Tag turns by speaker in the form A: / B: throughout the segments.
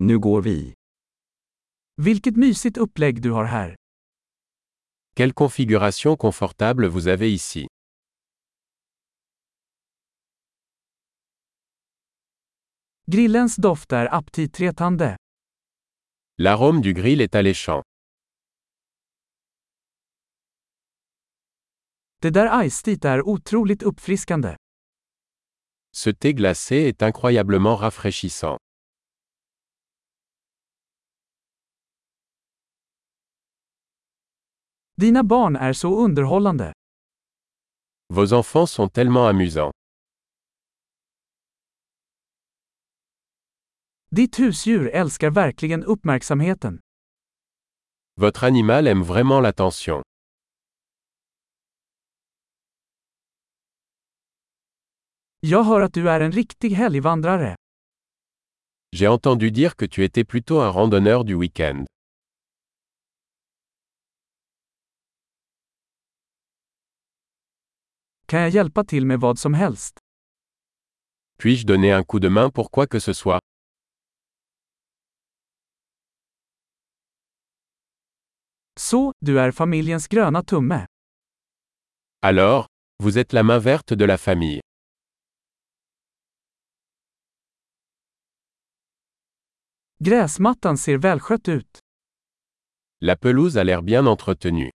A: Nu går vi.
B: Vilket mysigt upplägg du har här.
C: Quelle configuration confortable vous avez ici.
B: Grillens doft är aptitretande.
C: L'arôme du grill est alléchant.
B: Det där iced är otroligt uppfriskande.
C: Ce thé glacé est incroyablement rafraîchissant.
B: Dina barn är så underhållande.
C: Vos enfants sont tellement amusants.
B: Ditt husdjur älskar verkligen uppmärksamheten.
C: Votre animal aime vraiment l'attention.
B: Jag hör att du är en riktig helgvandrare.
C: J'ai entendu dire que tu étais plutôt un randonneur du week-end.
B: Kan jag hjälpa till med vad som helst?
C: Puis-je donner un coup de main pour quoi que ce soit
B: Så, du är familjens gröna tumme.
C: Alors, vous êtes la main verte de la famille.
B: Gräsmattan ser välskött ut.
C: La pelouse a l'air bien entretenue.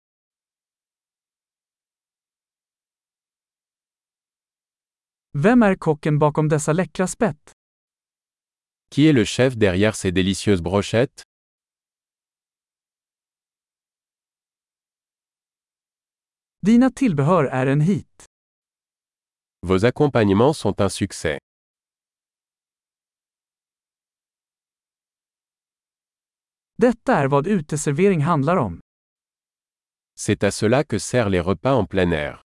B: Vem är kocken bakom dessa läckra spett?
C: Qui est le chef derrière ces délicieuses brochettes
B: Dina tillbehör är en hit.
C: Vos accompagnements sont un succès.
B: Detta är vad uteservering handlar om.
C: C'est à cela que servent les repas en plein air.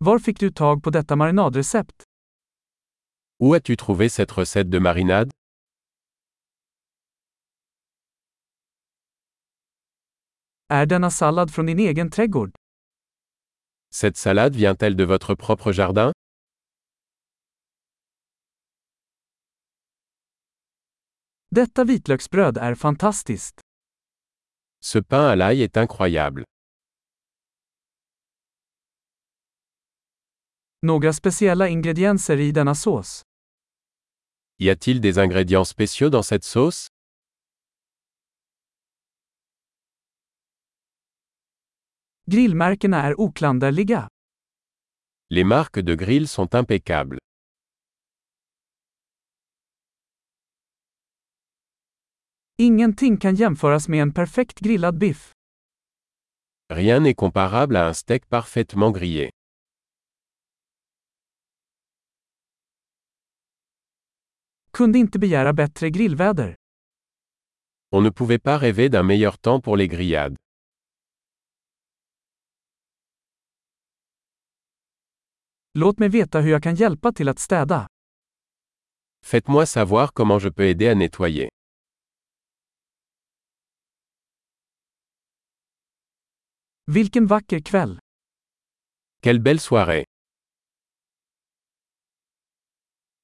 B: Var fick du tag på detta marinadrecept?
C: Où as-tu trouvé cette recette de marinade
B: Är denna sallad från din egen trädgård?
C: Cette salade vient-elle de votre propre jardin
B: Detta vitlöksbröd är fantastiskt.
C: Ce pain à l'ail est incroyable.
B: Några speciella ingredienser i denna sås.
C: Y a-t-il des ingrédients spéciaux dans cette sauce
B: Grillmärkena är oklanderliga.
C: Les marques de grill sont impeccables.
B: Ingenting kan jämföras med en perfekt grillad biff.
C: Rien n'est comparable à un steak parfaitement grillé.
B: Kunde inte begära bättre grillväder.
C: On ne pouvait pas rêver d'un meilleur temps pour les grillades.
B: Låt mig veta hur jag kan hjälpa till att städa.
C: Faites-moi savoir comment je peux aider à nettoyer.
B: Vilken vacker kväll!
C: Quelle belle soirée